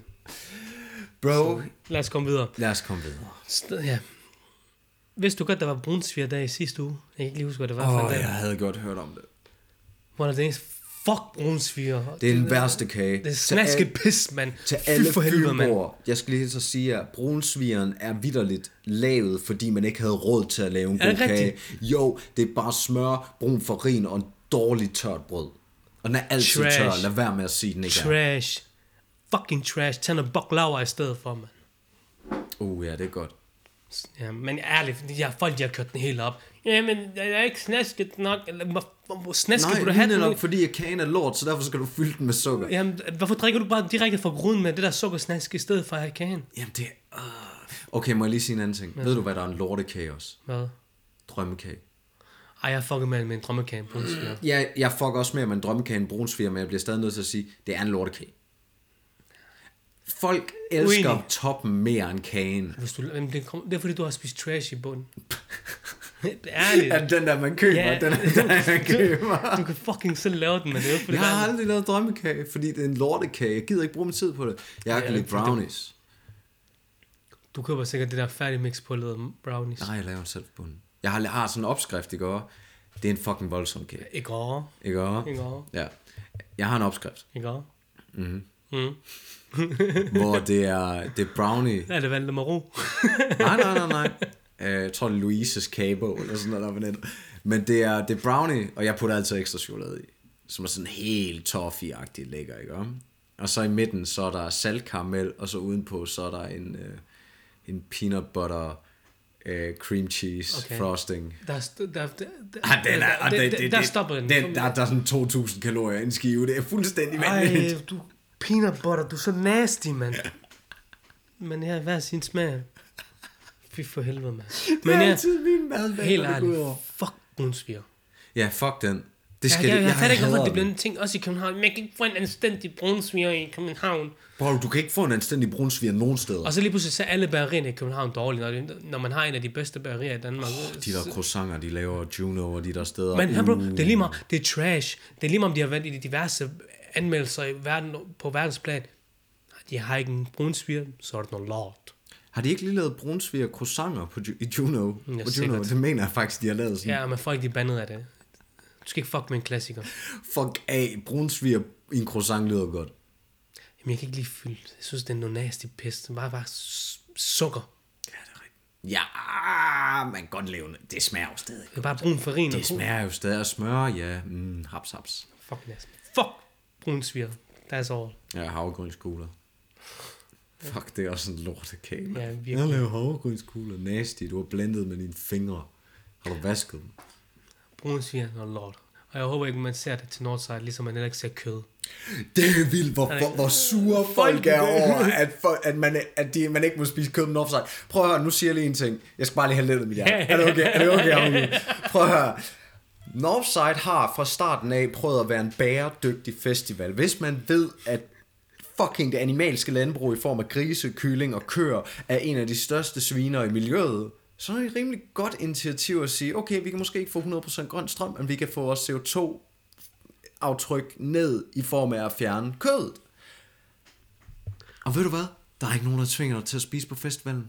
Bro, Lad os komme videre. lad os komme videre. St- ja. Vidste du godt, der var brunsvigerdag i sidste uge? Jeg kan ikke lige huske, hvad det var Åh, for en oh, dag. jeg havde godt hørt om det. Hvor der er det eneste, fuck brunsviger. Det er den værste kage. det er snasket pis, mand. Til Fy alle for helvede, mand. fynboer, jeg skal lige så sige, at brunsvigeren er vidderligt lavet, fordi man ikke havde råd til at lave en Er god det kage. rigtigt? Jo, det er bare smør, brun farin og en dårlig tørt brød. Og den er altid Trash. tør, lad være med at sige den ikke er. Trash. Fucking trash. Tag noget baklava i stedet for, mand. Uh ja, det er godt. Ja, men ærligt, de her folk, de har kørt den helt op. Jamen, jeg er ikke snasket nok. Eller, hvor- hvor- hvor Snasket, Nej, Nej, du lige have den? netop, fordi at kagen er lort, så derfor skal du fylde den med sukker. Jamen, hvorfor drikker du bare direkte fra grunden med det der sukkersnask i stedet for at have kagen? Jamen det er... Uh... Okay, må jeg lige sige en anden ting? Ja. Ved du, hvad der er en lortekage også? Hvad? Drømmekage. Ej, jeg fucker med, med en drømmekage på en sfære. Ja, jeg fucker også med, at man drømmekage en brunsviger, men jeg bliver stadig nødt til at sige, det er en lortekage. Folk elsker Uenig. toppen mere end kagen. Hvis du, jamen, det, kom, det er fordi, du har spist trash i bunden. ærligt. At den der, man køber, Ja. yeah. den er den, man køber. Du kan fucking selv lave den, men det er jo ikke, fordi, Jeg der er- har aldrig lavet drømmekage, fordi det er en lortekage. Jeg gider ikke bruge min tid på det. Jeg kan Ja, lide brownies. du køber sikkert det der færdigmixpullede brownies. Nej, jeg laver selv på bunden. Jeg har, har sådan en opskrift, ikke også? Det er en fucking voldsom kage, Ikke over. ikke også? Ikke over. Ja. Jeg har en opskrift. Ikke over. Mhm. Mm. hvor det er, det er brownie. Er det valgt ro? Nej, nej, nej, nej. Øh, Jeg tror, det er Louise's kagebog, eller sådan noget, der er på nettet. Men det er, det er brownie, og jeg putter altid ekstra chokolade i, som er sådan helt toffee-agtigt lækker, ikke om? Og så i midten, så er der saltkaramel, og så udenpå, så er der en, øh, en peanut butter øh, cream cheese Okay. okay. frosting. Der, er st- der, der, der, Ah, den er, ah, der, det, der, det, der det- stopper den. den der, der er sådan 2.000 kalorier i en skive. Det er fuldstændig vanvittigt. Ej, du peanut butter, du er så nasty, mand. Men jeg har hver sin smag. Fy for helvede, mand. Men Men det er jeg, altid min mad, helt ærligt, fuck brunsviger. Ja, fuck den. Det Jeg, skal jeg, jeg, jeg fatter ikke, hvorfor hader det den. bliver en ting også i København. Men jeg kan ikke få en anstændig brunsviger i København. Bro, du kan ikke få en anstændig brunsviger nogen steder. Og så lige pludselig så er alle bagerierne i København dårlige, når, det- når man har en af de bedste bagerier i Danmark. de der croissanter, de laver Juno og de der steder. Men her, bro, det er lige meget, det er trash. Det er lige meget, om de har været i de diverse anmeldelser i verden, på verdensplan. De har ikke en brunsviger, så er det noget lort. Har de ikke lige lavet brunsviger croissanter på Ju- i Juno? Ja, på Juno? sikkert. Det mener jeg faktisk, de har lavet sådan. Ja, men folk de er bandet af det. Du skal ikke fuck med en klassiker. Fuck af, brunsviger i en croissant lyder godt. Jamen, jeg kan ikke lige fylde. Jeg synes, det er noget nasty pis. Bare, bare s- sukker. Ja, det er rigtigt. Ja, man kan godt leve det. Det smager jo stadig. Det er bare brun farin og Det smager jo stadig af smør, ja. Mm, haps, haps. Fuck nasty. Fuck brun svir. That's all. Ja, havregrynskugler. Fuck, det er også en lortekage. Ja, mand. virkelig. jeg laver havregrynskugler. Nasty, du har blendet med dine fingre. Har du vasket dem? Brun svir og lort. Og jeg håber ikke, man ser det til Northside, ligesom man heller ikke ser kød. Det er vildt, hvor, hvor, hvor sure folk er over, at, for, at, man, at de, man ikke må spise kød med offside. Prøv at høre, nu siger jeg lige en ting. Jeg skal bare lige have lidt af mit hjerte. Er det okay? Er det okay? homie? Prøv at høre. Northside har fra starten af prøvet at være en bæredygtig festival. Hvis man ved, at fucking det animalske landbrug i form af grise, kylling og køer er en af de største sviner i miljøet, så er det et rimelig godt initiativ at sige, okay, vi kan måske ikke få 100% grøn strøm, men vi kan få vores CO2-aftryk ned i form af at fjerne kødet. Og ved du hvad? Der er ikke nogen, der tvinger dig til at spise på festivalen.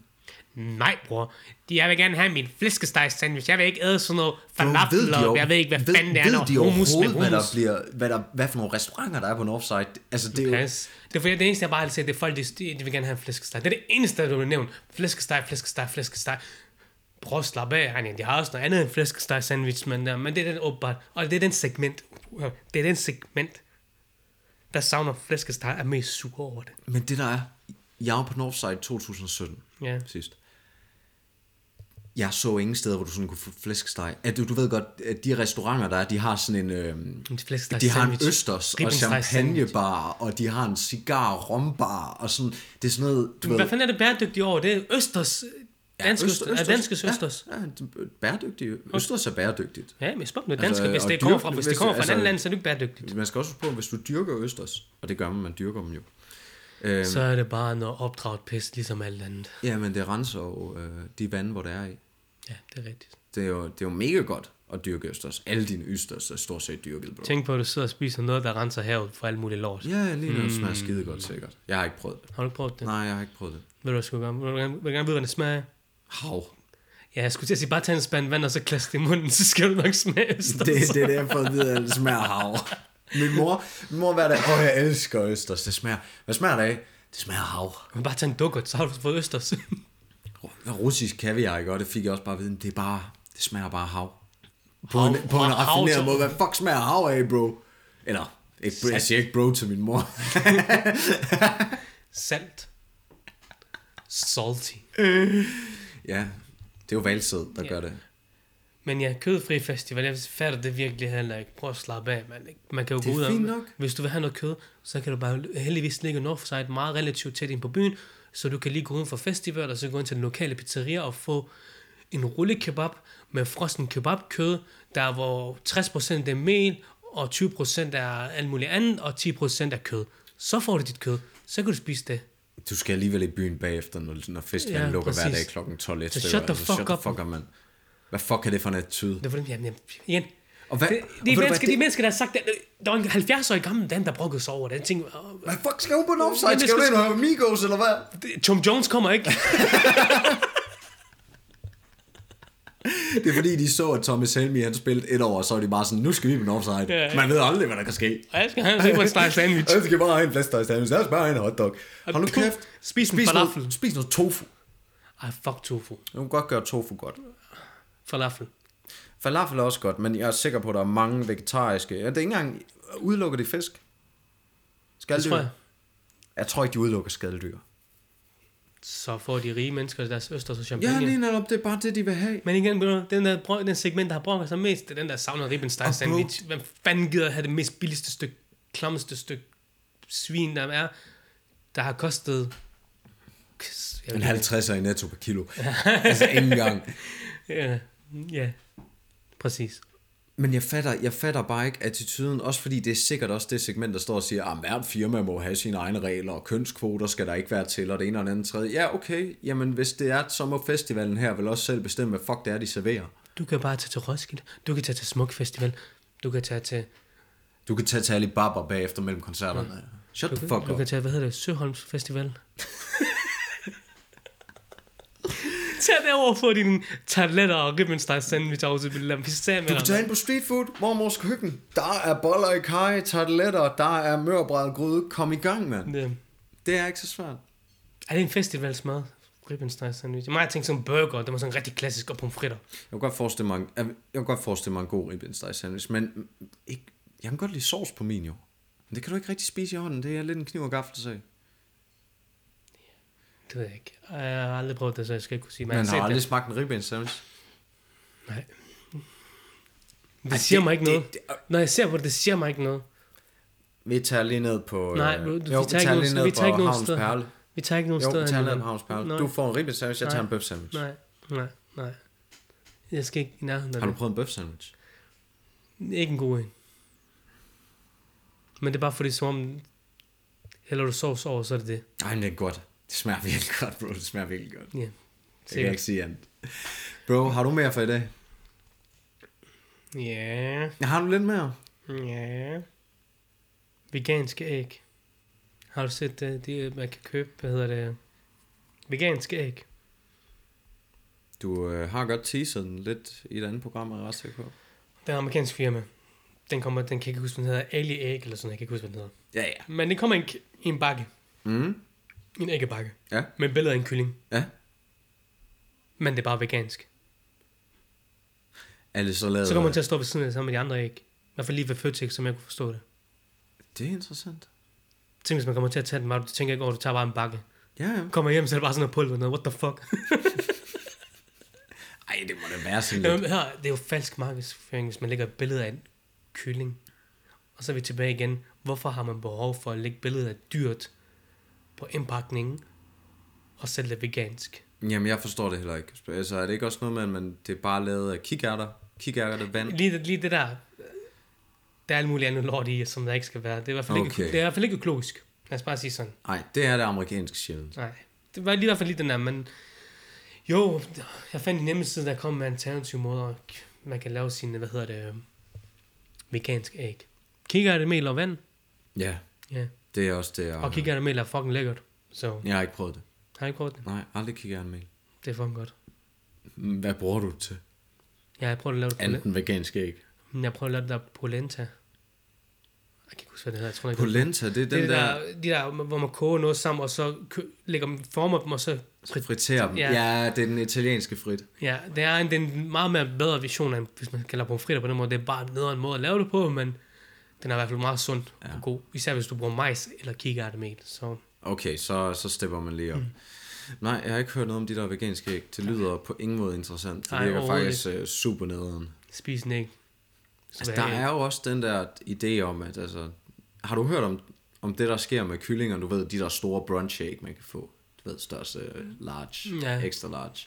Nej, bror. De, jeg vil gerne have min flæskesteg sandwich. Jeg vil ikke æde sådan noget Bro, falafel de op. over- Jeg ved ikke, hvad ved, fanden det er, ved når de hummus med overhovedet, hvad der hummus. bliver, hvad, der, hvad for nogle restauranter, der er på Northside? Altså, det er jo, Pas. Det er fordi, det eneste, jeg bare har set, det er folk, de, de vil gerne have en flæskesteg. Det er det eneste, der bliver nævnt. Flæskesteg, flæskesteg, flæskesteg. Prøv at slappe af, Anja. De har også noget andet end flæskesteg sandwich, men, uh, men det er den åbenbart. Og det er den segment. øh, Det er den segment, der savner flæskesteg, er mest sur over det. Men det der er, jeg var på Northside 2017 Ja. sidst. Jeg så ingen steder, hvor du sådan kunne få flæskesteg. At du, du ved godt, at de restauranter, der er, de har sådan en... Øhm, En flæskesteg de har en sandwich. østers og Ribbensteg sandwich. champagnebar, og de har en cigar rombar, og sådan... Det er sådan noget, du Men ved... Hvad fanden er det bæredygtigt over? Det er Østers. Danske øst- Østers. østers. Er danske Østers. Ja, ja, det- bæredygtigt. Østers er bæredygtigt. Ja, men spørg nu danske, Altså, hvis og det kommer fra, dyrke- hvis hvis det det- kommer fra et altså- andet land, så er det ikke bæredygtigt. Man skal også huske på, hvis du dyrker østers, og det gør man, man dyrker dem jo. Øhm, Så er det bare noget opdraget pis, ligesom alt andet. ja, men det renser jo øh, de vand, hvor det er i. Ja, det er rigtigt. Det er, jo, det er jo mega godt at dyrke østers. Alle dine østers er stort set dyrket, bro. Tænk på, at du sidder og spiser noget, der renser havet for alt muligt lort. Ja, lige nu mm. smager skide godt sikkert. Jeg har ikke prøvet det. Har du ikke prøvet det? Nej, jeg har ikke prøvet det. Ved du, hvad jeg skulle gøre? Vil du gerne, vil du gerne vide, hvordan det smager? Hav. Ja, jeg skulle til at sige, bare tag en spand vand, og så klasse det i munden, så skal du nok smage østers. Det, det er det, jeg har fået at vide, at det smager af hav. Min mor, min mor hver dag, åh, jeg elsker østers. Det smager, hvad smager det af? Det smager af hav. Men bare tag en dukkert, så har du fået østers. Russisk kaviar, ikke? Og det fik jeg også bare at vide, det er bare, det smager bare af hav. På, Hav- en, på en hav- hav- raffineret måde. Hvad fuck smager hav af, bro? Eller, ikke, jeg siger ikke bro til min mor. Salt. Salty. Ja, det er jo valgsæd, der Ja. gør det. Men ja, kødfri festival, jeg fatter det virkelig heller ikke. Prøv at slappe af, man. Man kan jo Det gå ud er og... fint nok. Hvis du vil have noget kød, så kan du bare heldigvis ligge nord for sig meget relativt tæt ind på byen, så du kan lige gå uden for festival, og så gå ind til den lokale pizzeria og få en rullekebab med frossen kebabkød, der hvor 60% er mel, og 20% er alt muligt andet, og 10% er kød. Så får du dit kød. Så kan du spise det. Du skal alligevel i byen bagefter, når, når festivalen Ja, ja, lukker hver præcis. dag klokken 12. et Så stykker. shut the Altså, fuck up. shut the fuck up, mand. Hvad fuck er det for en attitude? Det var dem, jamen, jamen, igen. Og hvad- det, og ved de, du hvad, mennesker, det- de mennesker, der har sagt, det, der var en 70-årig gammel dame, der brokkede sig over det. Jeg tænkte, "Åh, Hvad fuck skal hun på en offside? Jamen, Skal skal hun ind sgu- og høre Migos, eller hvad? det- Tom Jones kommer ikke. Det er fordi, de så, at Thomas Helmi, han spillede et år, og så var de bare sådan, nu skal vi på en offside. Ja, ja. Man ved aldrig, hvad der kan ske. Og jeg skal have en superstar sandwich. Jeg skal bare have en flæskesteg sandwich. Lad os bare have en hotdog. Hold nu du- kæft. spis en falafel. noget, spis noget tofu. Ej, fuck tofu. Du kan godt gøre tofu godt. Falafel. Falafel er også godt, men jeg er sikker på, at der er mange vegetariske. Ja, det er ikke engang... Udelukker de fisk? Det Skaldyr? tror jeg. jeg tror ikke, de udelukker skaldyr. Så får de rige mennesker deres østers og Ja, champagne. lige netop. Det er bare det, de vil have. Men igen, bro, den der bro, den segment, der har brokket sig mest, det er den der savner ribbenstein sandwich. Hvem fanden gider have det mest billigste stykke, klammeste stykke svin, der er, der har kostet... Jeg En ved ikke. 50'er i netto per kilo. altså, ingen gang. Ja, ja, præcis. Men jeg fatter, jeg fatter bare ikke attituden, også fordi det er sikkert også det segment, der står og siger, at hvert firma må have sine egne regler, og kønskvoter skal der ikke være til, og det ene og det andet tredje. Ja, okay, jamen hvis det er, så må festivalen her vel også selv bestemme, hvad fuck det er, de serverer. Du kan bare tage til Roskilde, du kan tage til Smuk Festival, du kan tage til... Du kan tage til Alibaba bagefter mellem koncerterne. Shut the fuck Du up. kan tage, hvad hedder det, Søholms Festival. Tag derover og få dine tartletter og ribbensteg sandwich af til Billam. Vi ser med Du kan tage ind på street food, mormors køkken. Der er boller i kaj, tarteletter, der er mørbræd gryde. Kom i gang, mand. Det, Det er ikke så svært. er det en festivalsmad? Ribbensteg sandwich. Mig, jeg tænkte sådan burger, det var sådan rigtig klassisk, og pomfritter. Jeg kan godt forestille mig, en- jeg kan godt forestille mig en god ribbensteg sandwich, men ikke, jeg kan godt lide sovs på min jo. Men det kan du ikke rigtig spise i hånden, det er lidt en kniv og gaffel sag. Det ved jeg ikke. Jeg har aldrig prøvet det, så jeg skal ikke kunne sige. Men Man jeg har har aldrig set smagt en ribbensteg sandwich. det. Det Altså, siger det- mig ikke det- noget. det- Når jeg ser på det, det siger mig ikke noget. Vi tager lige ned på... Nej, øh, du- vi jo, tager ikke nogen- vi tager ikke nogen Havns steder. Perle. Vi tager ikke nogen Jo, steder. vi tager ned alligevel. på Havns Perle. Nej. Du får en ribbensteg sandwich, jeg Nej. tager en bøf sandwich. Nej, nej, nej. Jeg skal ikke i nærheden af Har du det. prøvet en bøf sandwich? Ikke en god en. Men det er bare fordi, som om... Hælder du sovs over, så er det det. Nej, men det er godt. Det smager virkelig godt, bro. Det smager virkelig godt. Ja, Det kan jeg sikkert. ikke sige andet. Bro, har du mere for i dag? Ja, Har du lidt mere? ja. Veganske æg. Har du set det? De, øh, man kan købe, hvad hedder det? Veganske æg. Du øh, har godt teaset den lidt i et andet program, er jeg ret sikker på. Det er et amerikansk firma. Den, kommer, den kan ikke huske, hvad den hedder. Ali æg eller sådan, jeg kan ikke huske, hvad den hedder. Ja, ja. Men det kommer i en, k- i en bakke. Mm. I En æggebakke. Ja. Med billeder af en kylling. Ja. Men det er bare vegansk. Er det så lavet... Så kommer man til at stå ved siden af sammen med de andre æg. I hvert fald lige ved Føtex, som jeg kunne forstå det. Det er interessant. Tænk, hvis man kommer til at tage den, bare, du tænker ikke over, du tager bare en bakke. Ja, ja. Kommer hjem, så er det bare sådan noget pulver, noget, what the fuck. Ej, det må da være sådan lidt. Jamen, her, det er jo falsk markedsføring, hvis man lægger et billede af en kylling. Og så er vi tilbage igen. Hvorfor har man behov for at lægge billedet af dyrt på indpakningen og sælge det vegansk? Jamen, jeg forstår det heller ikke. Altså, er det ikke også noget med, at man, det er bare lavet af kikærter? Kikærter, vand? Lige, lige det der, der er alt muligt andet lort i, som der ikke skal være. Det er i hvert fald, ikke, Okay. det er i hvert fald ikke økologisk. Lad os bare sige sådan. Nej, det er det amerikanske sjældent. Nej, det var lige i hvert fald lige den der, men jo, jeg fandt en hjemmeside, der kom med alternative måder, man kan lave sine, hvad hedder det, øh, veganske æg. Kigger det mel og vand? Ja, Ja, det er også det, jeg og kigger det mel er fucking lækkert, så Jeg har ikke prøvet det. har jeg ikke prøvet det? Nej, aldrig kikærtermel. Det er fucking godt. Mm, Hvad bruger du det til? Ja, jeg prøvede at lave det polenta. Enten vegansk æg. Jeg prøvede at lave det der polenta. Jeg kan ikke huske, hvad det hedder. Jeg tror ikke, Polenta, det er den det er det der, der, de der, hvor man koger noget sammen, og så kø- lægger man, former dem, og så... der friterer dem. Ja. Ja, det er den italienske frit. Ja, det er en, det er en meget mere bedre vision, end hvis man kalder pomfritter på den måde. Det er bare en nederen måde at lave det på, men den er i hvert fald meget sund ja. og god. Især hvis du bruger majs eller kikærtemel. Så Okay, så, så stepper man lige op. Mm. Nej, jeg har ikke hørt noget om de der veganske æg. Det lyder på ingen måde interessant. Det Nej, virker overhovedet faktisk øh, super nederen. Spis en æg. Så Altså, hvad der æg? er jo også den der idé om, at altså, har du hørt om, om det, der sker med kyllinger? Du ved, de der store brunch æg, man kan få. Du ved, største øh, large, Ja. ja. extra large.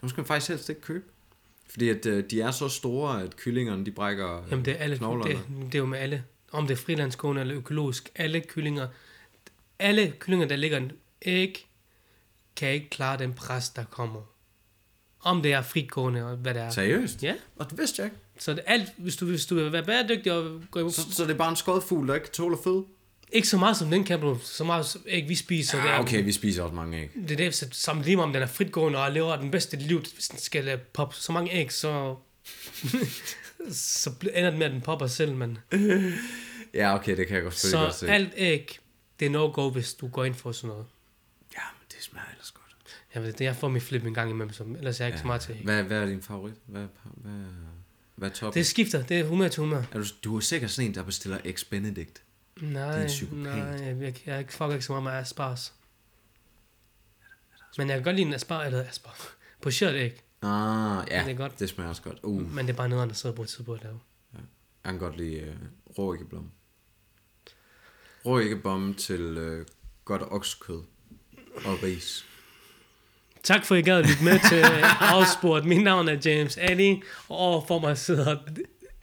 Dem skal man faktisk helst ikke købe. Fordi at, øh, de er så store, at kyllingerne, de brækker øh, Jamen, det er, alle, knoglerne. det, det er jo med alle. Om det er frilandsgående eller økologisk. Alle kyllinger, alle kyllinger, der ligger en æg, kan ikke klare den pres, der kommer. Om det er fritgående og hvad det er. Seriøst? Ja, Og det vidste jeg ikke. så det er alt, hvis du, hvis du vil være bæredygtig og gå imod, Så, så det er bare en skodfugl, der ikke tåler fed? ikke så meget som den kan, bro. så meget som æg, vi spiser. det Ja, er- Ah, okay, vi spiser også mange æg. Det er det, så som lige meget om den er fritgående og lever den bedste liv, hvis den skal øh, poppe så mange æg, så, så bl- ender det med, at den popper selv, men Ja, okay, det kan jeg godt følge godt så se. alt æg, det er no-go, hvis du går ind for sådan noget. Ja, men det smager ellers godt. Jeg ved det, jeg får min flip en gang imellem, som, ellers er jeg ikke ja. så meget til æg. Hvad, hvad er din favorit? Hvad, hvad, hvad er toppen? Det skifter, det er humør til humør. Er du, du er sikkert sådan en, der bestiller Ex Benedict. Nej, psykopat. nej, jeg, jeg, jeg fucker ikke så meget med asparges. Men jeg kan godt lide en aspar, eller aspar, pocheret æg, Ah, ja, Det er godt. det smager også godt. Uh, men det er bare nederen, der sidder og bruger tid på at lave. jeg kan godt lide øh, rå æggeblom. Rå æggeblom til øh, godt oksekød og ris. Tak for, at I gad at lytte med til Afsport. Mit navn er James Addy, og overfor mig sidder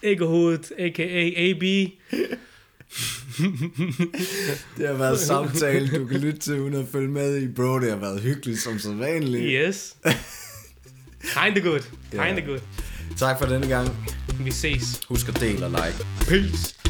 æggehovedet, a.k.a. AB. Det har været samtale, du kan lytte til, uden at følge med i. Bro, det har været hyggeligt som så vanligt. Yes. Kinda good. Ja. Kinda good. Tak for denne gang. Vi ses. Husk at dele og like. Peace.